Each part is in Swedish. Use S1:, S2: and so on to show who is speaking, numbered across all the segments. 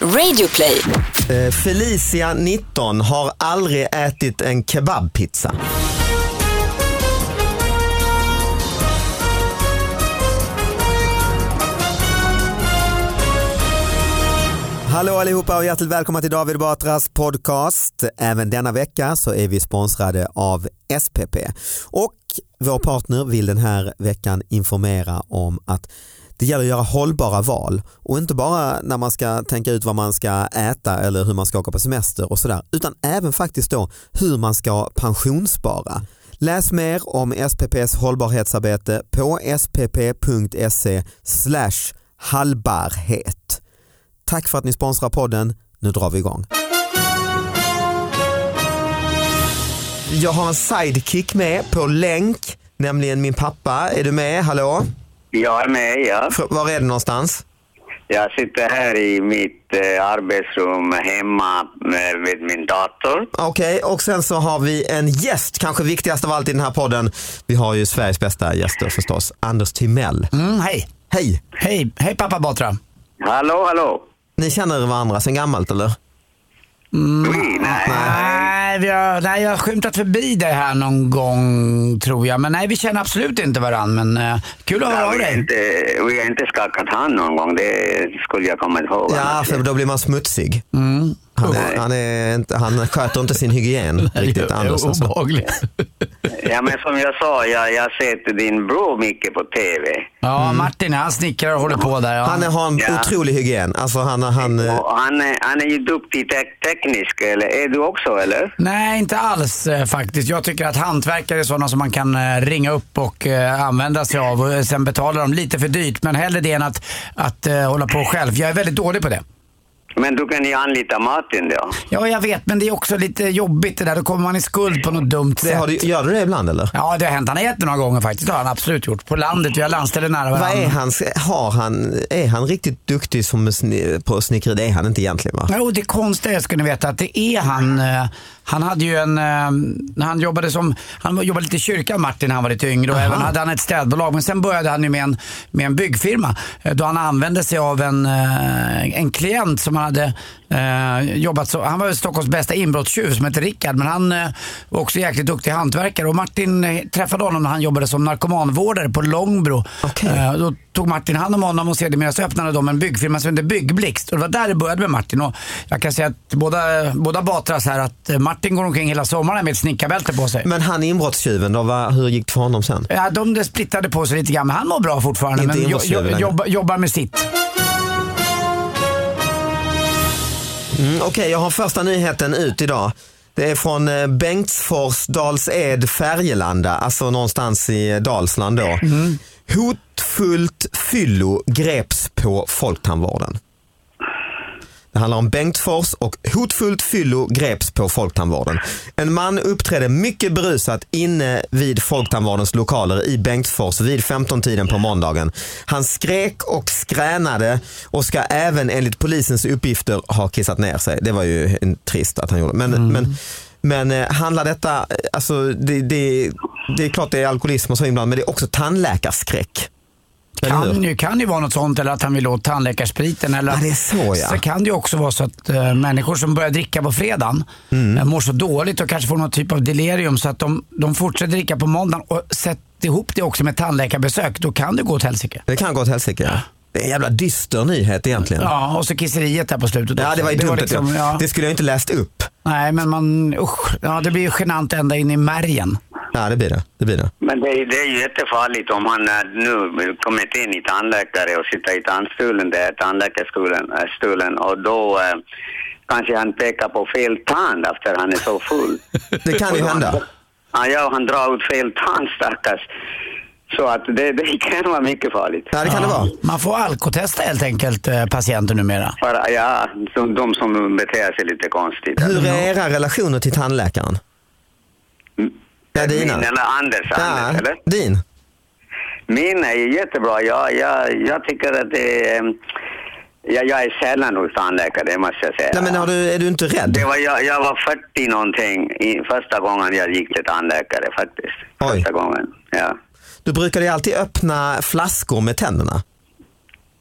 S1: Radioplay.
S2: Eh, Felicia, 19, har aldrig ätit en kebabpizza. Hallå allihopa och hjärtligt välkomna till David Batras podcast. Även denna vecka så är vi sponsrade av SPP. Och vår partner vill den här veckan informera om att det gäller att göra hållbara val och inte bara när man ska tänka ut vad man ska äta eller hur man ska åka på semester och sådär utan även faktiskt då hur man ska pensionsspara. Läs mer om SPPs hållbarhetsarbete på spp.se hallbarhet. Tack för att ni sponsrar podden. Nu drar vi igång. Jag har en sidekick med på länk, nämligen min pappa. Är du med? Hallå?
S3: Jag är med, ja.
S2: Fr- Var är du någonstans?
S3: Jag sitter här i mitt eh, arbetsrum hemma eh, vid min dator.
S2: Okej, och sen så har vi en gäst, kanske viktigast av allt i den här podden. Vi har ju Sveriges bästa gäster förstås, Anders Timell.
S4: Mm, hej.
S2: Hej!
S4: hej! Hej pappa Batra.
S3: Hallå, hallå!
S2: Ni känner varandra sen gammalt eller? Mm.
S3: Vi, nej.
S4: Nej, vi har, nej, jag har skymtat förbi dig här någon gång tror jag. Men nej, vi känner absolut inte varandra. Men eh, kul att höra
S3: Ja,
S4: av
S3: vi, har
S4: dig.
S3: inte, vi har inte skakat hand någon gång, det skulle jag komma ihåg.
S2: Ja, för då blir man smutsig. Han, är, han, är inte, han sköter inte sin hygien riktigt, Anders. Alltså.
S4: Obehagligt.
S3: ja, men som jag sa, jag, jag har sett din bror mycket på TV.
S4: Ja, Martin han snickrar och håller på där. Ja.
S2: Mm. Han är, har en
S3: Ja.
S2: otrolig hygien. Alltså han, han, eh,
S3: Och han, är- han är ju duktig te- teknisk, eller är du också, eller?
S4: Nej, inte alls eh, faktiskt. Jag tycker att hantverkare är sådana som man kan eh, ringa upp och eh, använda sig av. Och eh, sen betalar de lite för dyrt. Men hellre det än att, att eh, hålla på själv. Jag är väldigt dålig på det.
S3: Men du kan ju anlita Martin då.
S4: Ja, jag vet, men det är också lite jobbigt det där. Då kommer man i skuld på något dumt
S2: det
S4: sätt.
S2: har du, gör du det ibland eller?
S4: Ja, det har hänt. Han har gett det några gånger faktiskt. Det har han absolut gjort. På landet, vi har landställe nära varandra.
S2: Vad är han, har han, är han riktigt duktig som sni, på snickeri? Det är han inte egentligen va?
S4: Jo, det konstiga är, ska ni veta, att det är han. eh, Han hade ju en, eh, när han jobbade som, han jobbade lite i kyrkan Martin när han var lite yngre och även hade han ett städbolag. Men sen började han ju med en, med en byggfirma eh, då han använde sig av en, eh, en klient som han hade eh, jobbat som, han var ju Stockholms bästa inbrottstjuv som hette Rickard men han eh, var också jäkligt duktig hantverkare och Martin eh, träffade honom när han jobbade som narkomanvårdare på Långbro.
S2: Okej.
S4: Eh, då tog Martin hand om honom och sedermera så öppnade de en byggfirma som hette Byggblixt. Och det var där det började med Martin. Och jag kan säga att båda, båda Batras här, att eh, Martin går omkring hela sommaren med ett snickarbälte på sig.
S2: Men han inbrottstjuven då, vad, hur gick det för honom sen?
S4: Ja, de där splittade på sig lite grann, men han mår bra fortfarande.
S2: Inte
S4: men jo,
S2: inbrottstjuv
S4: jo,
S2: längre.
S4: jobba, jobbar med sitt.
S2: Mm, Okej, jag har första nyheten ut idag. Det är från eh, Bengtsfors, Dals-Ed, Färgelanda, alltså någonstans i eh, Dalsland då. Hotfullt fyllo greps på Folktandvården. Det handlar om Bengtsfors och hotfullt fyllo greps på Folktandvården. En man uppträdde mycket berusat inne vid Folktandvårdens lokaler i Bengtsfors vid 15-tiden på måndagen. Han skrek och skränade och ska även enligt polisens uppgifter ha kissat ner sig. Det var ju en- trist att han gjorde. Men,
S4: Mm.
S2: men, men eh, handlar detta, eh, alltså det, det, det är klart det är alkoholism och så inblandat men det är också tandläkarskräck. Eller hur?
S4: Kan ju, kan ju vara något sånt, eller att han vill åt tandläkarspriten. Eller
S2: Ja,
S4: att-
S2: det är så, ja.
S4: Så kan det ju också vara så att eh, människor som börjar dricka på fredagen
S2: Mm.
S4: eh, mår så dåligt och kanske får någon typ av delirium så att de, de fortsätter dricka på måndagen och sätt ihop det också med tandläkarbesök, då kan det gå åt helsike.
S2: Det kan gå åt helsike. ja. Det är en jävla dyster nyhet egentligen.
S4: Ja, och så kisseriet där på slutet.
S2: Ja,
S4: också.
S2: det var ju dumt. att
S4: liksom,
S2: jag-
S4: ja.
S2: Det skulle jag inte läst upp.
S4: Nej, men man, usch, ja, det blir ju genant ända in i märgen.
S2: Ja, det blir det. det, blir det.
S3: Men det, är- det är ju jättefarligt om han eh, nu kommit in i tandläkare och sitter i tandstolen där, tandläkarstolen, eh, stolen, och då eh, kanske han pekar på fel tand efter han är så full.
S2: Det kan ju hända.
S3: Ja, ja, han drar ut fel tand stackars. Så att det, det kan vara mycket farligt.
S2: Ja, det kan det vara.
S4: Man får alkotesta helt enkelt eh, patienter numera.
S3: För, ja, de, de som beter sig lite konstigt.
S2: Hur är era relationer till tandläkaren? Ja,
S3: Min
S2: dina.
S3: eller Anders,
S2: Ja,
S3: Anders Mm. eller?
S2: din.
S3: Min är ju jättebra. Jag, jag, jag tycker att det är... ehm, Jag, jag är sällan hos tandläkare, det måste jag säga.
S2: Nej, men har du, är du inte rädd?
S3: Det var, jag, jag var 40 någonting i, första gången jag gick till tandläkare faktiskt.
S2: Oj.
S3: Första gången, ja.
S2: Du brukade ju alltid öppna flaskor med tänderna.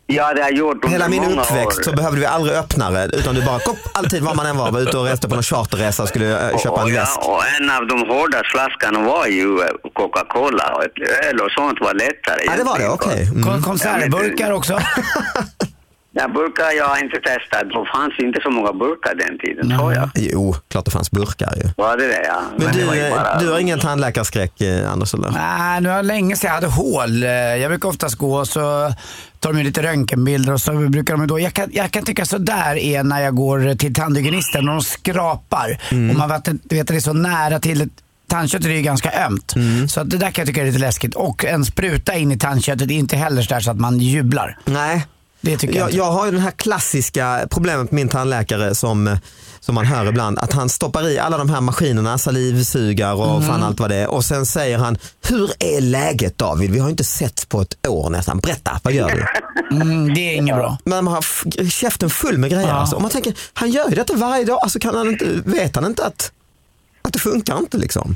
S3: Ja, det har jag gjort under
S2: Hela min
S3: många
S2: uppväxt
S3: år.
S2: så behövde vi aldrig öppnare utan du bara kopp, alltid var man än var, var ute och reste på någon charterresa och skulle eh, köpa
S3: och,
S2: en
S3: ja,
S2: läsk.
S3: och en av de hårda flaskorna var ju eh, Coca-Cola och ett öl och sånt var lättare.
S2: Ja det var det,
S3: egentligen.
S2: okej.
S4: Kon-
S2: Mm.
S4: Konservburkar också.
S3: Ja, burkar jag har inte testat. Det fanns inte så många burkar den tiden, tror jag.
S2: Jo, klart det fanns burkar ju.
S3: Var det det? Ja.
S2: Men
S3: det var
S2: du,
S3: ju
S2: eh,
S3: bara-
S2: du har ingen tandläkarskräck eh, Anders eller?
S4: Nej, nu har jag länge sedan jag hade hål. Eh, Jag brukar oftast gå och så tar de ju lite röntgenbilder och så brukar de ju då, jag kan, jag kan tycka sådär är när jag går till tandhygienisten och de skrapar. Och man vet, att- vet att det är så nära till ett Tandköttet är ju ganska ömt. Så att det där kan jag tycka är lite läskigt. Och en spruta in i tandköttet är inte heller sådär så att man jublar.
S2: Nej.
S4: Det tycker jag,
S2: Jag,
S4: inte.
S2: jag har ju det här klassiska problemet med min tandläkare som, som man hör ibland. Att han stoppar i alla de här maskinerna, salivsugare och
S4: Mm.
S2: fan allt vad det är. Och sen säger han, hur är läget David? Vi har ju inte sett på ett år nästan. Berätta, vad gör du?
S4: Mm, det är inget bra.
S2: Men man har f- käften full med grejer.
S4: Ja.
S2: Alltså. Och man tänker, han gör ju detta varje dag. Alltså kan han inte, vet han inte att, att det funkar inte liksom?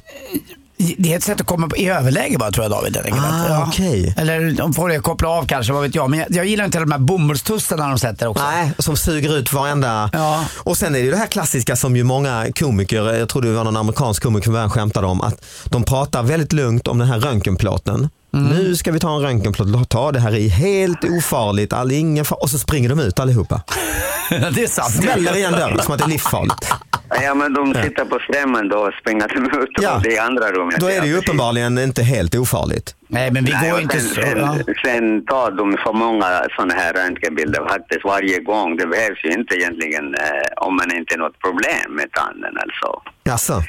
S4: Det är ett sätt att komma i överläge bara tror jag David. helt enkelt.
S2: Ah,
S4: Ja.
S2: okej.
S4: Eller om får det koppla av kanske, vad vet jag. Men jag, jag gillar inte de här bomullstussarna de sätter också.
S2: Nej, som suger ut varenda.
S4: Ja.
S2: Och sen är det ju det här klassiska som ju många komiker, jag tror det var någon amerikansk komiker som början skämtade om, att de pratar väldigt lugnt om den här röntgenplåten. Nu ska vi ta en röntgenplåt, låt ta det här i helt ofarligt, all, ingen far- och så springer de ut allihopa.
S4: det är sant.
S2: Smäller igen dörren som att det är livsfarligt.
S3: Ja, men de sitter på stämman då och springer till ut
S2: Ja.
S3: och det är andra rummet.
S2: Då är det ju
S3: Ja,
S2: uppenbarligen inte helt ofarligt.
S4: Nej, men vi
S3: Nej,
S4: går
S3: och
S4: inte
S3: sen,
S4: så. ja.
S3: Sen, sen tar de för många sådana här röntgenbilder faktiskt varje gång. Det behövs ju inte egentligen eh, om man inte har något problem med tanden alltså.
S2: Jaså?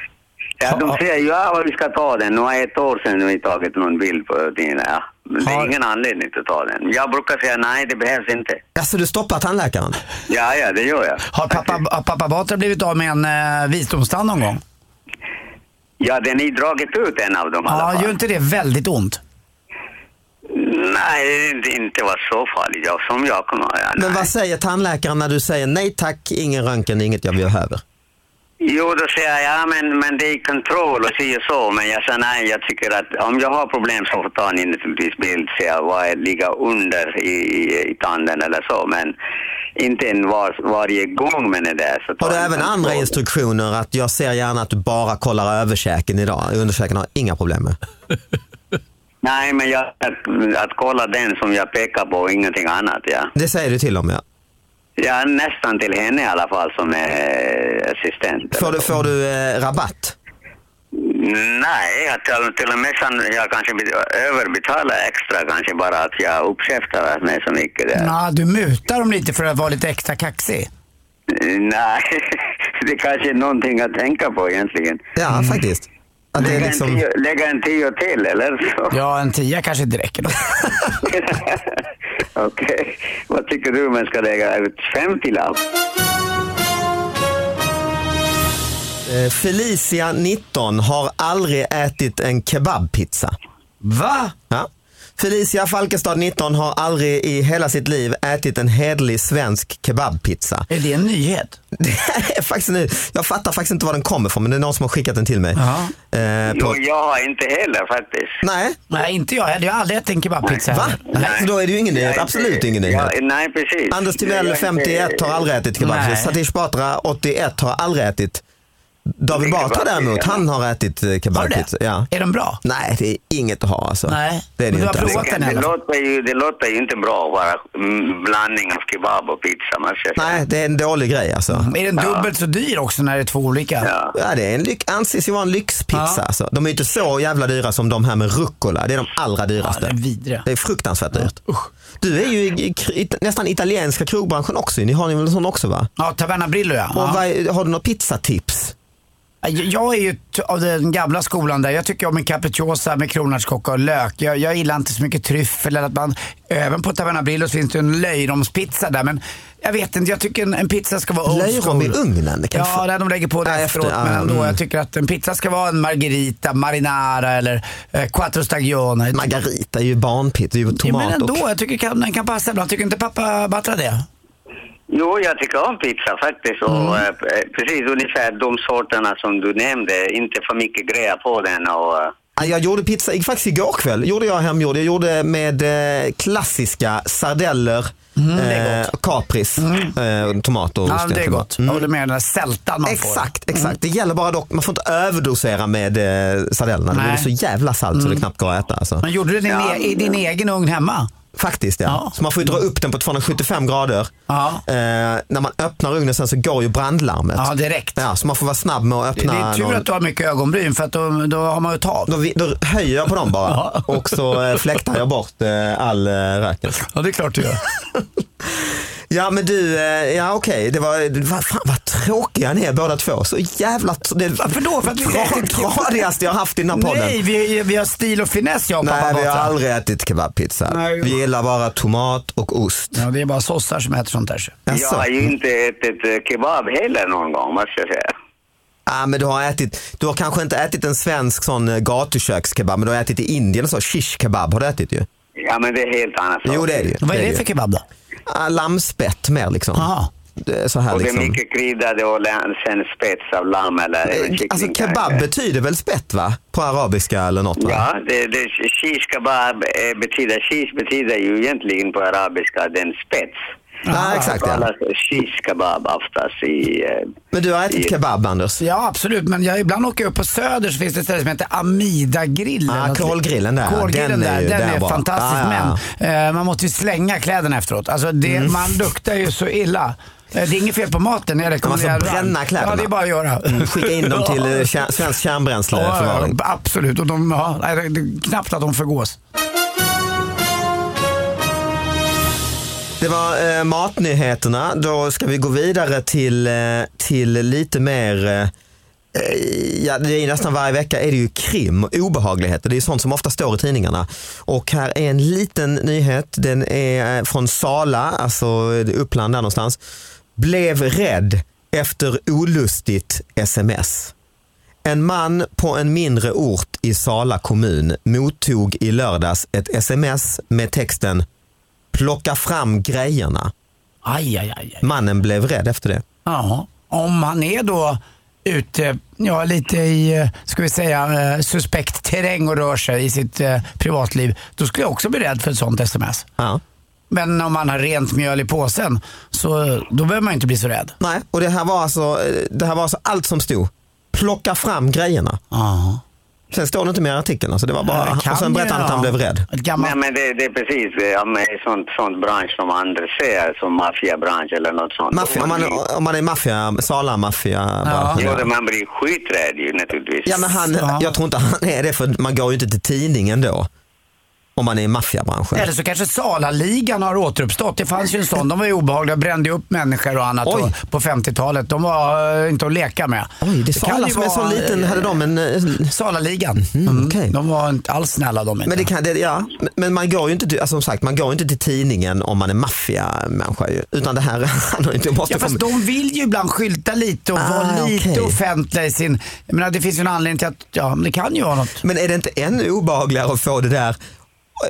S3: Ja, de säger ju ja, vi ska ta den. Nu är ett år sedan vi tagit någon bild på din. Ja. Men det
S4: Har-
S3: är ingen anledning att ta den. Jag brukar säga nej, det behövs inte.
S2: Jaså, du stoppar tandläkaren?
S3: Ja, ja, det gör jag.
S4: Har pappa, har pappa Batra blivit av med en eh, visdomstand någon gång?
S3: Ja, den är dragit ut en av dem i alla
S4: Ja,
S3: fall.
S4: gör inte det väldigt ont?
S3: Nej, det inte var så farligt. Ja, som jag kommer ihåg. Ja,
S2: Men
S3: nej.
S2: vad säger tandläkaren när du säger nej tack, ingen röntgen, inget jag behöver?
S3: Jo, då säger jag, ja men, men det är kontroll och si och så. Men jag säger nej, jag tycker att om jag har problem så tar ni naturligtvis bild, ser jag vad jag ligger under i, i, i tanden eller så. Men inte en var, varje gång man är där. Så tar
S2: Har du
S3: ni
S2: även
S3: kontroll.
S2: andra instruktioner att jag ser gärna att du bara kollar överkäken idag? Underkäken har jag inga problem med.
S3: Nej, men jag, att, att kolla den som jag pekar på och ingenting annat, ja.
S2: Det säger du till dem ja.
S3: Ja, nästan till henne i alla fall som är assistent.
S2: Får du, får du eh, rabatt?
S3: Nej, jag till, till och med sen, jag kanske bet- överbetalar extra kanske bara att jag uppkäftar mig så mycket
S2: Eh.
S3: där.
S4: Ja, du mutar dem lite för att vara lite extra kaxig.
S3: Nej, det kanske är någonting att tänka på egentligen.
S2: Ja, faktiskt. Att det
S3: Lägga,
S2: är
S3: en
S2: liksom,
S3: tio, lägga en tio till eller? så?
S4: Ja, en tia kanske inte räcker då.
S3: Okej, vad tycker du man ska lägga ut? 50 lapp?
S2: eh, Felicia 19 har aldrig ätit en kebabpizza.
S4: Va?
S2: Ja. Felicia Falkestad 19 har aldrig i hela sitt liv ätit en hedlig svensk kebabpizza.
S4: Är det en nyhet?
S2: Det här är faktiskt nu, jag fattar faktiskt inte var den kommer ifrån men det är någon som har skickat den till mig.
S4: Ja.
S2: Eh,
S3: Jo,
S2: på,
S3: jag har inte heller faktiskt.
S2: nej,
S4: Nej, inte jag heller. Jag har aldrig ätit en kebabpizza
S2: Va?
S4: heller.
S2: Nej. Så då är det ju ingen
S3: Jag
S2: nyhet,
S3: är
S2: absolut
S3: inte-
S2: ingen nyhet.
S3: Ja, nej, precis.
S2: Anders
S3: Jag
S2: Timell
S3: är
S2: 51
S3: inte-
S2: har aldrig ätit kebab.
S4: Nej.
S2: Satish Batra 81 har aldrig ätit. David
S3: Kebab,
S2: Batra däremot,
S3: ja.
S2: han har ätit eh,
S4: Har du
S2: kebabpizza.
S4: det?
S2: Ja.
S4: Är de bra?
S2: Nej, det är inget att ha alltså.
S4: Nej,
S2: Det är det
S4: men
S2: ju inte.
S4: du har
S2: Alltså.
S4: provat?
S3: Det,
S4: den i alla fall.
S3: låter ju, det låter ju inte bra att vara mm, blandning av kebab och pizza. Man ska säga.
S2: Nej, det är en dålig grej alltså.
S4: Är den dubbelt så dyr också när det är två olika?
S3: Ja.
S2: Ja, det är en lyx, anses ju vara en lyxpizza.
S4: Ja.
S2: Alltså. De är ju inte så jävla dyra som de här med rucola. Det är de allra
S4: Ja,
S2: dyraste.
S4: den är vidrig.
S2: det är fruktansvärt dyrt. Du är ju i, i, i, nästan italienska krogbranschen också. Ni har ju väl en sån också va?
S4: Ja, Taverna Brillo ja.
S2: Och
S4: ja.
S2: vad, har du några pizzatips?
S4: Jag- Äh, Jag är ju t- av den gamla skolan där. Jag tycker om en capricciosa med kronärtskocka och lök. Jag, jag gillar inte så mycket tryffel eller att man, även på Taverna Brillo så finns det ju en löjromspizza där. Men jag vet inte, jag tycker en, en pizza ska vara old
S2: Löjrom
S4: school.
S2: i ugnen? Det kan
S4: Ja,
S2: fan-
S4: där de lägger på det
S2: Ja, efter,
S4: efteråt. men
S2: ja,
S4: ändå,
S2: mm.
S4: jag tycker att en pizza ska vara en margarita, marinara eller eh, quattro stagione.
S2: Margarita är ju barnpizza, det är ju
S4: Ja, men
S2: tomat
S4: ändå,
S2: och...
S4: jag tycker kan, den kan passa ibland. Tycker inte pappa Batra det?
S3: Jo, jag tycker om pizza faktiskt. Och,
S2: Mm.
S3: eh, precis ungefär de sorterna som du nämnde. Inte för mycket grejer på den. Och, eh,
S2: Ja, Jag gjorde pizza i- faktiskt igår kväll. Gjorde jag hemgjord. Jag gjorde med eh, klassiska sardeller,
S4: Mm,
S2: eh, kapris, eh, tomater och
S4: Ja,
S2: ost
S4: det är
S2: egentligen. Mm.
S4: gott. Jag håller med, den där sältan man får. Mm.
S2: Exakt, exakt. Det gäller bara dock, man får inte överdosera med eh, sardellerna.
S4: Nej. Mm.
S2: Det blir så jävla salt så det knappt går att äta. Alltså.
S4: Men gjorde du den
S3: Ja,
S4: i, i din egen ugn hemma?
S2: Faktiskt ja.
S4: Ja.
S2: Så man får ju dra upp den på 275 grader.
S4: Ja.
S2: Eh, när man öppnar ugnen sen så går ju brandlarmet.
S4: Ja, direkt.
S2: Ja, så man får vara snabb med att
S4: Det
S2: öppna.
S4: är tur
S2: någon-
S4: att du har mycket ögonbryn för att då, då har man ju tag.
S2: då, vi- då höjer jag på dem bara
S4: Ja.
S2: och så eh, fläktar jag bort eh, all eh, röken.
S4: Ja, det är klart du gör.
S2: Ja men du, eh, ja okej, det var, det var, fan vad tråkiga ni är båda två. Så jävla, tr- det
S4: Varför då? För att vi-
S2: tra- tradigaste jag har haft i den här podden.
S4: Nej, vi, vi har stil och finess jag och
S2: Nej,
S4: pappa
S2: vi har
S4: Batra.
S2: aldrig ätit kebabpizza.
S4: Nej.
S2: Vi gillar bara tomat och ost.
S4: Ja, det är bara sossar som äter sånt där.
S3: Jag
S2: Jaså?
S3: har ju inte ätit eh, kebab heller någon gång, måste jag säga.
S2: Ah, men du, har ätit, du har kanske inte ätit en svensk sån eh, gatukökskebab, men du har ätit i Indien och så. Shish kebab har du ätit ju.
S3: Ja, men det är helt annat. sak.
S2: Jo, det är det ju.
S4: Vad är det
S2: ju.
S4: för kebab då?
S2: Ah, lammspett mer liksom.
S4: Aha.
S2: Det är Så här
S3: Och det är
S2: liksom.
S3: mycket kryddade och lä- sen spets av lamm eller
S2: Eh,
S3: kyckling.
S2: Alltså kebab
S3: kanske.
S2: betyder väl spett va? På arabiska eller något va?
S3: Ja, det, det, shish kebab eh, betyder, shish betyder ju egentligen på arabiska den spets.
S2: Ja, exakt
S3: Det
S2: ja.
S3: kallas shish kebab oftast i... eh,
S2: Men du har ätit
S3: i-
S2: kebab Anders?
S4: Ja, absolut. Men jag, ibland åker jag upp på Söder så finns det ett ställe som heter Amida-grillen.
S2: Ah,
S4: Något-
S2: kolgrillen där, ja.
S4: Kolgrillen
S2: Den är
S4: där.
S2: ju-
S4: den
S2: den
S4: är,
S2: är bra.
S4: fantastisk.
S2: Ah, ja, Mm.
S4: Men eh, man måste ju slänga kläderna efteråt. Alltså det, man luktar ju så illa. Eh, Det är inget fel på maten, jag rekommenderar
S2: bränna
S4: varmt.
S2: kläderna. Mm,
S4: Ja, det är bara att göra.
S2: Skicka in dem till eh, kär, svensk
S4: ja,
S2: kärnbränsleförvaring.
S4: ja, absolut. Och de, ja, nej, det är knappt att de förgås.
S2: Det var eh, matnyheterna. Då ska vi gå vidare till, eh, till lite mer eh, Ja, det är ju nästan varje vecka är det ju krim, obehagligheter. Det är ju sånt som ofta står i tidningarna. Och här är en liten nyhet. Den är eh, från Sala, alltså eh, Uppland där någonstans. Blev rädd efter olustigt sms. En man på en mindre ort i Sala kommun mottog i lördags ett sms med texten plocka fram grejerna.
S4: Aj, aj, aj. aj.
S2: Mannen blev rädd efter det.
S4: Ja, om han är då ute, ja lite i, eh, ska vi säga, eh, suspekt terräng och rör sig i sitt eh, privatliv, då skulle jag också bli rädd för ett sånt sms.
S2: Ja.
S4: Men om man har rent mjöl i påsen, så eh, då behöver man inte bli så rädd.
S2: Nej, och det här var alltså, eh, det här var alltså allt som stod. Plocka fram grejerna.
S4: Ja.
S2: Sen står det inte mer i artikeln. Alltså det var bara, och sen berättade han att han blev rädd.
S4: Ett gammalt...
S3: Nej, men det, det är precis eh, ja, men sånt, sånt bransch som andra säger, som maffiabransch eller något sånt.
S2: Maffia, om, man, om man är maffia, Sala maffia
S3: Jo,
S2: ja.
S3: det- man blir skiträdd ju naturligtvis.
S2: ja, men han,
S4: Ja.
S2: Jag tror inte han är det för man går ju inte till tidningen då. Om man är i maffiabranschen.
S4: Eller så kanske Salaligan har återuppstått. Det fanns ju en sån. De var ju obehagliga, brände ju upp människor och annat
S2: Oj.
S4: och- på 50-talet. De var eh, inte att leka med.
S2: Oj, det är
S4: kan
S2: Sala
S4: ju
S2: som är så
S4: vara,
S2: liten.
S4: eh,
S2: Hade de en... eh,
S4: Salaligan. Mm,
S2: okej.
S4: De var inte alls snälla de.
S2: Men,
S4: inte.
S2: det kan, det, ja. men man går ju inte till, alltså, som sagt, man går ju inte till tidningen om man är maffiamänniska. ju. Utan det här, han har ju inte måste
S4: Ja, fast
S2: komma-
S4: de vill ju ibland skylta lite och vara
S2: Ah,
S4: lite
S2: okej.
S4: offentliga i sin... Jag menar, det finns ju en anledning till att, ja, men det kan ju vara något.
S2: Men är det inte ännu obehagligare att få det där,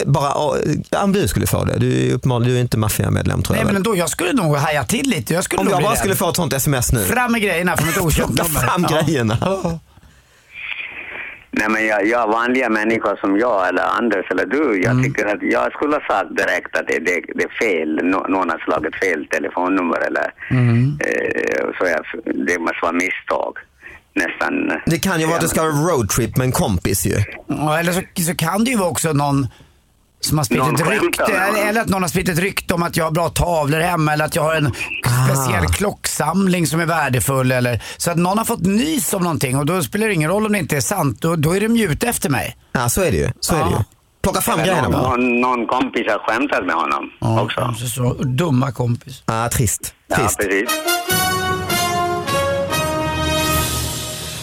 S2: bara, ja, om du skulle få det, du är ju uppenbarligen du är inte maffiamedlem tror
S4: Nej,
S2: jag.
S4: men
S2: väl.
S4: ändå, jag skulle nog haja till lite. Jag skulle
S2: om
S4: nog
S2: jag
S4: bli
S2: bara
S4: rädd.
S2: skulle få ett sånt sms nu,
S4: Fram med grejerna från ett okänt
S2: plocka
S4: nummer.
S2: fram
S4: Ja.
S2: grejerna.
S3: Nej, men jag, jag vanliga människor som jag eller Anders eller du, jag
S2: Mm.
S3: tycker att jag skulle ha sagt direkt att det, det, det är fel, Nå, någon har slagit fel telefonnummer eller
S2: Mm.
S3: eh, så jag, det måste vara misstag. Nästan.
S2: Det kan ju vara att du ska ha en roadtrip med en kompis ju.
S4: Ja, eller så, så kan det ju vara också någon som har spritt
S3: Någon
S4: ett rykte.
S3: skämtar, ja.
S4: Eller, eller att någon har spritt ett rykte om att jag har bra tavlor hemma eller att jag har en speciell
S3: Ah.
S4: klocksamling som är värdefull. Eller, så att någon har fått nys om någonting och då spelar det ingen roll om det inte är sant. Då, då är de ju ute efter mig.
S2: Ja, så är det ju. Så är det ju.
S4: Ja.
S2: Plocka fram
S3: Eller
S2: grejerna
S3: någon,
S2: bara.
S3: någon, någon kompis har skämtat med honom också.
S4: kanske Så, dumma kompis.
S2: Ah, trist.
S3: Ja,
S2: trist.
S3: precis.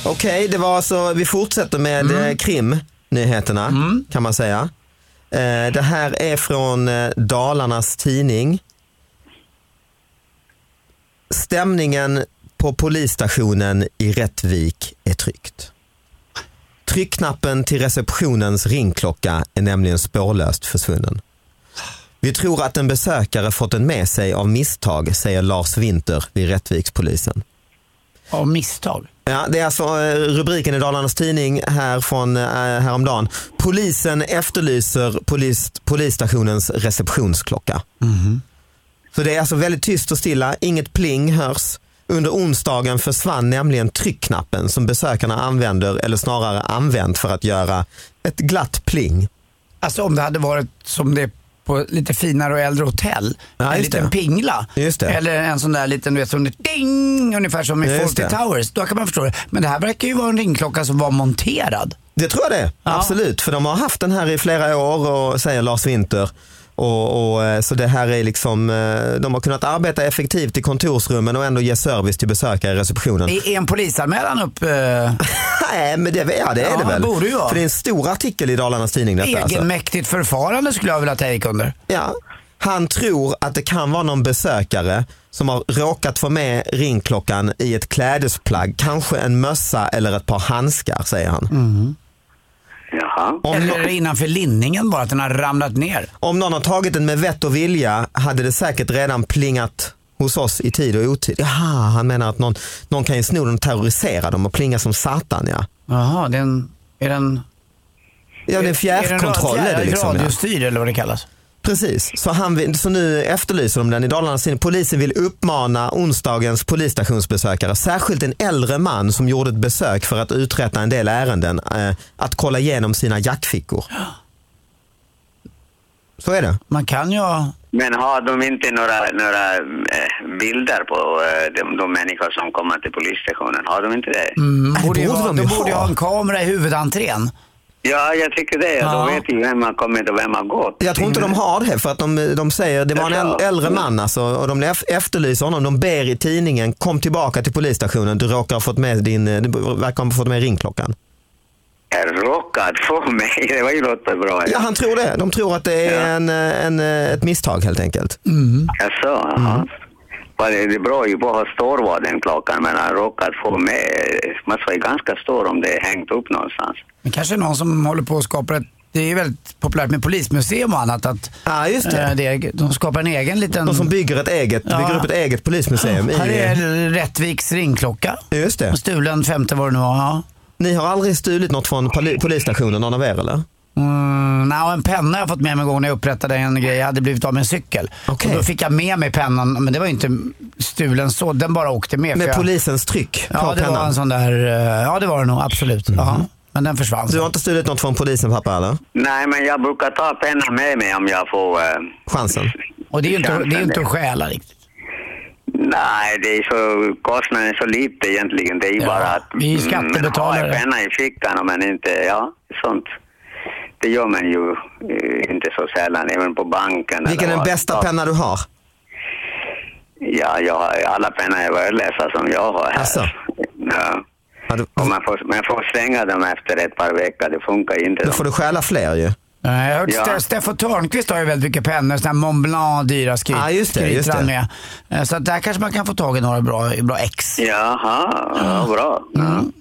S2: Okej, det var alltså, vi fortsätter med mm. krimnyheterna kan man säga. Eh, Det här är från eh, Dalarnas tidning. Stämningen på polisstationen i Rättvik är tryckt. Tryckknappen till receptionens ringklocka är nämligen spårlöst försvunnen. Vi tror att en besökare fått den med sig av misstag, säger Lars Winter vid Rättvikspolisen.
S4: Av misstag.
S2: Ja, det är alltså eh, rubriken i Dalarnas Tidning här från eh, häromdagen. Polisen efterlyser polis, polisstationens receptionsklocka. Så det är alltså väldigt tyst och stilla, inget pling hörs. Under onsdagen försvann nämligen tryckknappen som besökarna använder, eller snarare använt för att göra ett glatt pling.
S4: Alltså om det hade varit som det är på lite finare och äldre hotell.
S2: Ja,
S4: en
S2: just
S4: liten
S2: det.
S4: pingla.
S2: Just det.
S4: Eller en sån där liten, du vet, som det ding, ungefär som i
S2: Ja, just
S4: Fawlty
S2: det.
S4: Towers. Då kan man förstå det. Men det här verkar ju vara en ringklocka som var monterad.
S2: Det tror jag det,
S4: Ja.
S2: absolut. För de har haft den här i flera år, och, säger Lars Winter. Och, och, eh, så det här är liksom, eh, de har kunnat arbeta effektivt i kontorsrummen och ändå ge service till besökare i receptionen.
S4: Är är en polisanmälan upp eh,
S2: Nej, men det, ja, det är
S4: Ja,
S2: det väl.
S4: det borde ju vara.
S2: För det är en stor artikel i Dalarnas Tidning detta. Alltså.
S4: egenmäktigt förfarande skulle jag vilja ta gick under.
S2: Ja. Han tror att det kan vara någon besökare som har råkat få med ringklockan i ett klädesplagg, kanske en mössa eller ett par handskar säger han.
S3: Jaha.
S2: Om,
S4: Mm. Eller är det innanför linningen bara, att den har ramlat ner.
S2: Om någon har tagit den med vett och vilja hade det säkert redan plingat hos oss i tid och otid. Jaha, han menar att någon, någon kan ju sno den och terrorisera dem och plinga som satan ja.
S4: Jaha, det är en... Är den,
S2: Ja, det är en fjärrkontroll är det liksom. Ja.
S4: Radiostyrd eller vad det kallas.
S2: Precis, så, han vill, så nu efterlyser de den i Dalarnas Tidning. Polisen vill uppmana onsdagens polisstationsbesökare, särskilt en äldre man som gjorde ett besök för att uträtta en del ärenden, eh, att kolla igenom sina jackfickor. Så är det.
S4: Man kan ju ha...
S3: Men har de inte några, några eh, bilder på eh, de, de människor som kommer till polisstationen? Har de inte det?
S4: Mm,
S2: det
S4: borde ju
S2: borde
S4: ha,
S2: de
S4: de
S2: ju
S4: borde ju
S2: ha.
S4: ha en kamera i huvudentrén.
S3: Ja, jag tycker det.
S4: Ja.
S3: De vet ju vem har kommit och vem har gått.
S2: Jag tror inte de
S4: Mm.
S2: har det för att de, de säger, det var en äl- äldre man alltså och de ef- efterlyser honom. De ber i tidningen, kom tillbaka till polisstationen, du råkar ha fått med din, eh, du verkar ha fått med ringklockan.
S3: Jag råkade få mig. Det var ju något bra.
S2: Ja, han tror det. De tror att det är
S3: Ja.
S2: en, eh, en, eh, ett misstag helt enkelt.
S3: Jaså,
S2: Mm.
S3: jaha. Vad Det det beror ju på hur stor var den klockan, men han råkade få med. Man ska ju ganska stor om det är hängt upp någonstans.
S4: Men kanske någon som håller på och skapar ett... Det är ju väldigt populärt med polismuseum och annat att
S2: Ja, just det.
S4: eh, det, de skapar en egen liten...
S2: De som bygger ett eget,
S4: Ja.
S2: bygger upp ett eget polismuseum.
S4: här
S2: I,
S4: är Rättviks ringklocka.
S2: just det.
S4: Stulen femte var det nu var. Ja.
S2: Ni har aldrig stulit något från poli- polisstationen, någon av er eller?
S4: Mm, nej, och en penna har jag fått med mig en gång när jag upprättade en grej. Jag hade blivit av med en cykel.
S2: Okej.
S4: Och då fick jag med mig pennan, men det var ju inte stulen så. Den bara åkte med. för
S2: Med
S4: jag,
S2: polisens tryck på
S4: ja, det var en
S2: pennan. Mhm.
S4: sån där, eh, ja det var det nog absolut. Ja, men den försvann.
S2: Du har inte stulit något från polisen pappa eller?
S3: Nej, men jag brukar ta pennan med mig om jag får... eh,
S2: Chansen.
S4: Och det är ju inte, det är ju inte att
S3: chansen.
S4: stjäla riktigt.
S3: Nej, det är så, kostnaden är så lite egentligen. Det är ju
S4: Ja,
S3: bara att mm,
S4: vi är
S3: ha
S4: skattebetalare.
S3: en penna i fickan men inte, ja, sånt. Det gör man ju eh, inte så sällan, även på banken.
S2: Vilken är
S3: eller
S2: den
S3: vad.
S2: bästa penna du har?
S3: Ja, jag har alla pennor är värdelösa som jag har här.
S2: Asså?
S3: Ja.
S2: Ja, du,
S3: Och man, får, man får slänga dem efter ett par veckor, det funkar ju inte.
S2: då får du stjäla fler ju.
S4: Nej, Jag har hört
S3: Ja.
S4: Ste- Steffo Törnqvist har ju väldigt mycket pennor, sådana här Mont Blanc dyra skryt,
S2: Ja, just det, just
S4: skryter han
S2: det.
S4: med. Eh, Så att där kanske man kan få tag i några bra, bra ex.
S3: Jaha, ja, bra.
S2: Mm.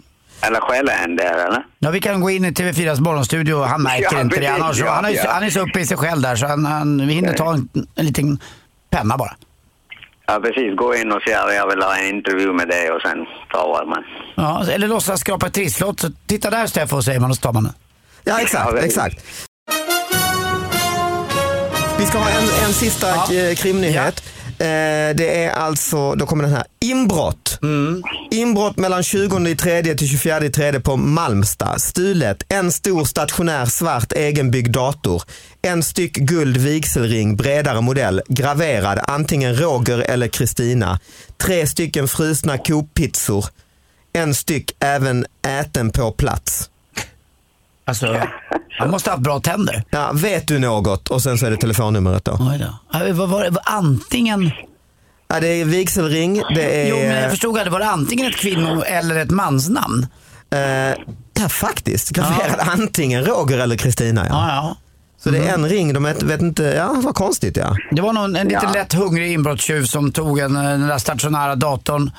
S3: Eller skäller en där eller?
S4: Ja, vi kan gå in i TV4s morgonstudio. Han märker
S3: Ja,
S4: inte det. Han, har
S3: precis.
S4: så,
S3: Ja,
S4: han, är,
S3: ja.
S4: han är så uppe i sig själv där så han, han vi hinner ta en, en liten penna bara.
S3: Ja, precis. Gå in och säg att jag vill ha en intervju med dig och sen tar man.
S4: Ja, eller låtsas skrapa ett trisslott. Så titta där Steffo, säger man och så tar man den.
S2: Ja exakt,
S3: Ja, det-
S2: exakt. Vi ska ha en, en sista eh, krimnyhet. Eh, Det är alltså, då kommer den här, inbrott. Inbrott mellan 20 i tredje till 24 i tredje på Malmstad. Stulet, en stor stationär svart egenbyggd dator. En styck guld vigselring, bredare modell, graverad antingen Roger eller Kristina. Tre stycken frusna kokpizzor. En styck även äten på plats.
S4: Alltså, han måste ha haft bra tänder.
S2: Ja, vet du något? Och sen så är det telefonnumret då.
S4: Oj då. Eh, Vad var det? Var Antingen...
S2: Ja, det är vigselring, det är...
S4: Jo, men jag förstod att det var antingen ett kvinno eller ett mansnamn.
S2: eh, ja, faktiskt. Graverad antingen Roger eller Kristina. Ja.
S4: Ja, Mm-hmm. ja.
S2: Så det är en ring, de vet, vet inte, ja vad konstigt ja.
S4: Det var någon, en lite
S3: Ja.
S4: lätt hungrig inbrottstjuv som tog en, eh, den där stationära datorn,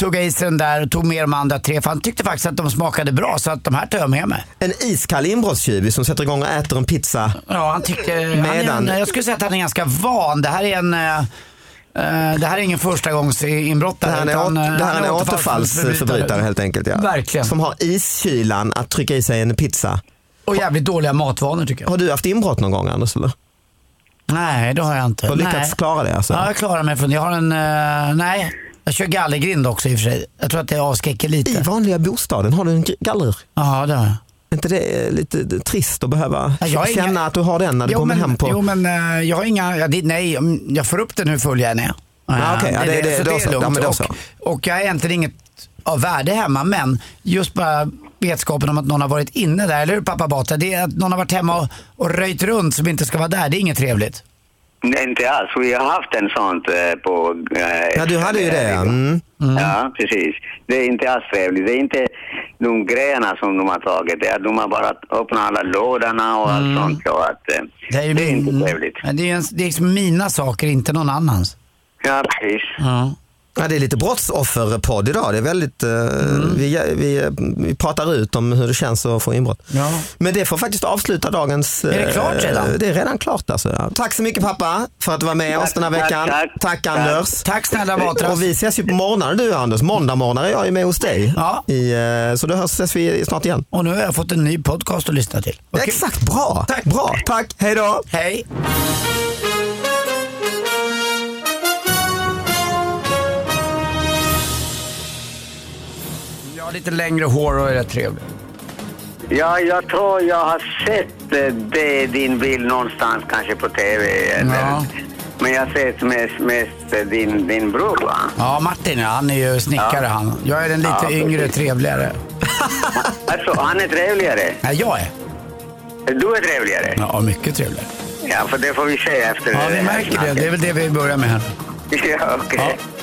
S4: tuggade i sig den där och tog med de andra tre. För han tyckte faktiskt att de smakade bra så att de här tar jag med mig.
S2: En iskall inbrottstjuv som sätter igång och äter en pizza.
S4: Ja, han tyckte... Han är
S2: Medan-
S4: en, jag skulle säga att han är ganska van. Det här är en... eh, Eh, Det här är ingen första gångs inbrottare.
S2: Det här är,
S4: utan,
S2: åt,
S4: eh,
S2: det här är en
S4: återfallsförbrytare.
S2: återfallsförbrytare helt enkelt. Ja.
S4: Verkligen.
S2: Som har iskylan att trycka i sig en pizza.
S4: Och jävligt dåliga matvanor tycker jag.
S2: Har du haft inbrott någon gång Anders? Eller?
S4: Nej, det har jag inte.
S2: Du har lyckats
S4: nej.
S2: klara det alltså?
S4: Ja, jag klarar mig från det. Jag har en, eh, nej, jag kör gallergrind också i och för sig. Jag tror att det avskräcker
S2: I
S4: lite.
S2: vanliga bostaden har du en g- galler.
S4: Ja, det har jag.
S2: Är inte det eh, lite eh, trist att behöva
S4: Ja, jag har
S2: känna
S4: inga-
S2: att du har den när du
S4: Jo,
S2: kommer
S4: men,
S2: hem på...
S4: Jo, men eh, jag har inga, ja, det, nej, om jag får upp den hur full jag än är.
S2: Ja, Ah, okej. Ja,
S4: Eh,
S2: det- det-
S4: så
S2: då så. Ja, men då
S4: och,
S2: så.
S4: och jag är egentligen inget av värde hemma, men just bara vetskapen om att någon har varit inne där, eller hur pappa Bata? Det är att någon har varit hemma och, och röjt runt som inte ska vara där, det är inget trevligt.
S3: Nej, inte alls. Vi har haft en sånt eh, på... eh, liksom.
S2: Ja, du hade ju det. ja. Mm.
S3: Ja, precis. Det är inte alls trevligt. Det är inte de grejerna som de har tagit. Det är att de har bara öppnat alla lådorna och allt sånt. Så att, eh, det är, inte trevligt.
S4: Men det är, ju en, det är liksom mina saker, inte någon annans.
S3: Ja, precis.
S4: Ja.
S2: Ja, det är lite brottsofferpodd idag. Det är väldigt, eh,
S4: Mm.
S2: vi, vi, eh, vi pratar ut om hur det känns att få inbrott.
S4: Ja.
S2: Men det får faktiskt avsluta dagens...
S4: Är det
S2: eh,
S4: klart redan?
S2: Det är redan klart alltså. ja. Tack så mycket pappa för att du var med
S3: Tack,
S2: oss den här
S3: tack,
S2: veckan.
S3: tack. Tack.
S2: Anders.
S4: Tack snälla Batra.
S2: Och vi ses ju på morgonen du Anders. Måndag morgon är jag ju med hos dig.
S4: Ja.
S2: I, eh, så då hörs ses vi snart igen.
S4: Och nu har jag fått en ny podcast att lyssna till. Vad kul.
S2: Exakt, bra.
S4: Tack.
S2: Bra, tack. Hej då.
S4: Hej! Jag har lite längre hår och är rätt trevlig.
S3: Ja, jag tror jag har sett eh, det, din bild någonstans, kanske på TV. Eller,
S4: Ja.
S3: Men jag har sett mest, mest eh, din, din bror, va?
S4: Ja, Martin ja, han är ju snickare han. Jag är den lite
S3: Ja, precis.
S4: yngre, trevligare.
S3: Alltså, han är trevligare.
S4: Nej, jag är.
S3: Du är trevligare.
S4: Ja, mycket trevligare.
S3: Ja, för det får vi se efter
S4: Ja,
S3: det
S4: vi
S3: här
S4: märker det.
S3: snacket.
S4: Det är väl det vi börjar med här.
S3: Ja, okej.
S4: Ja.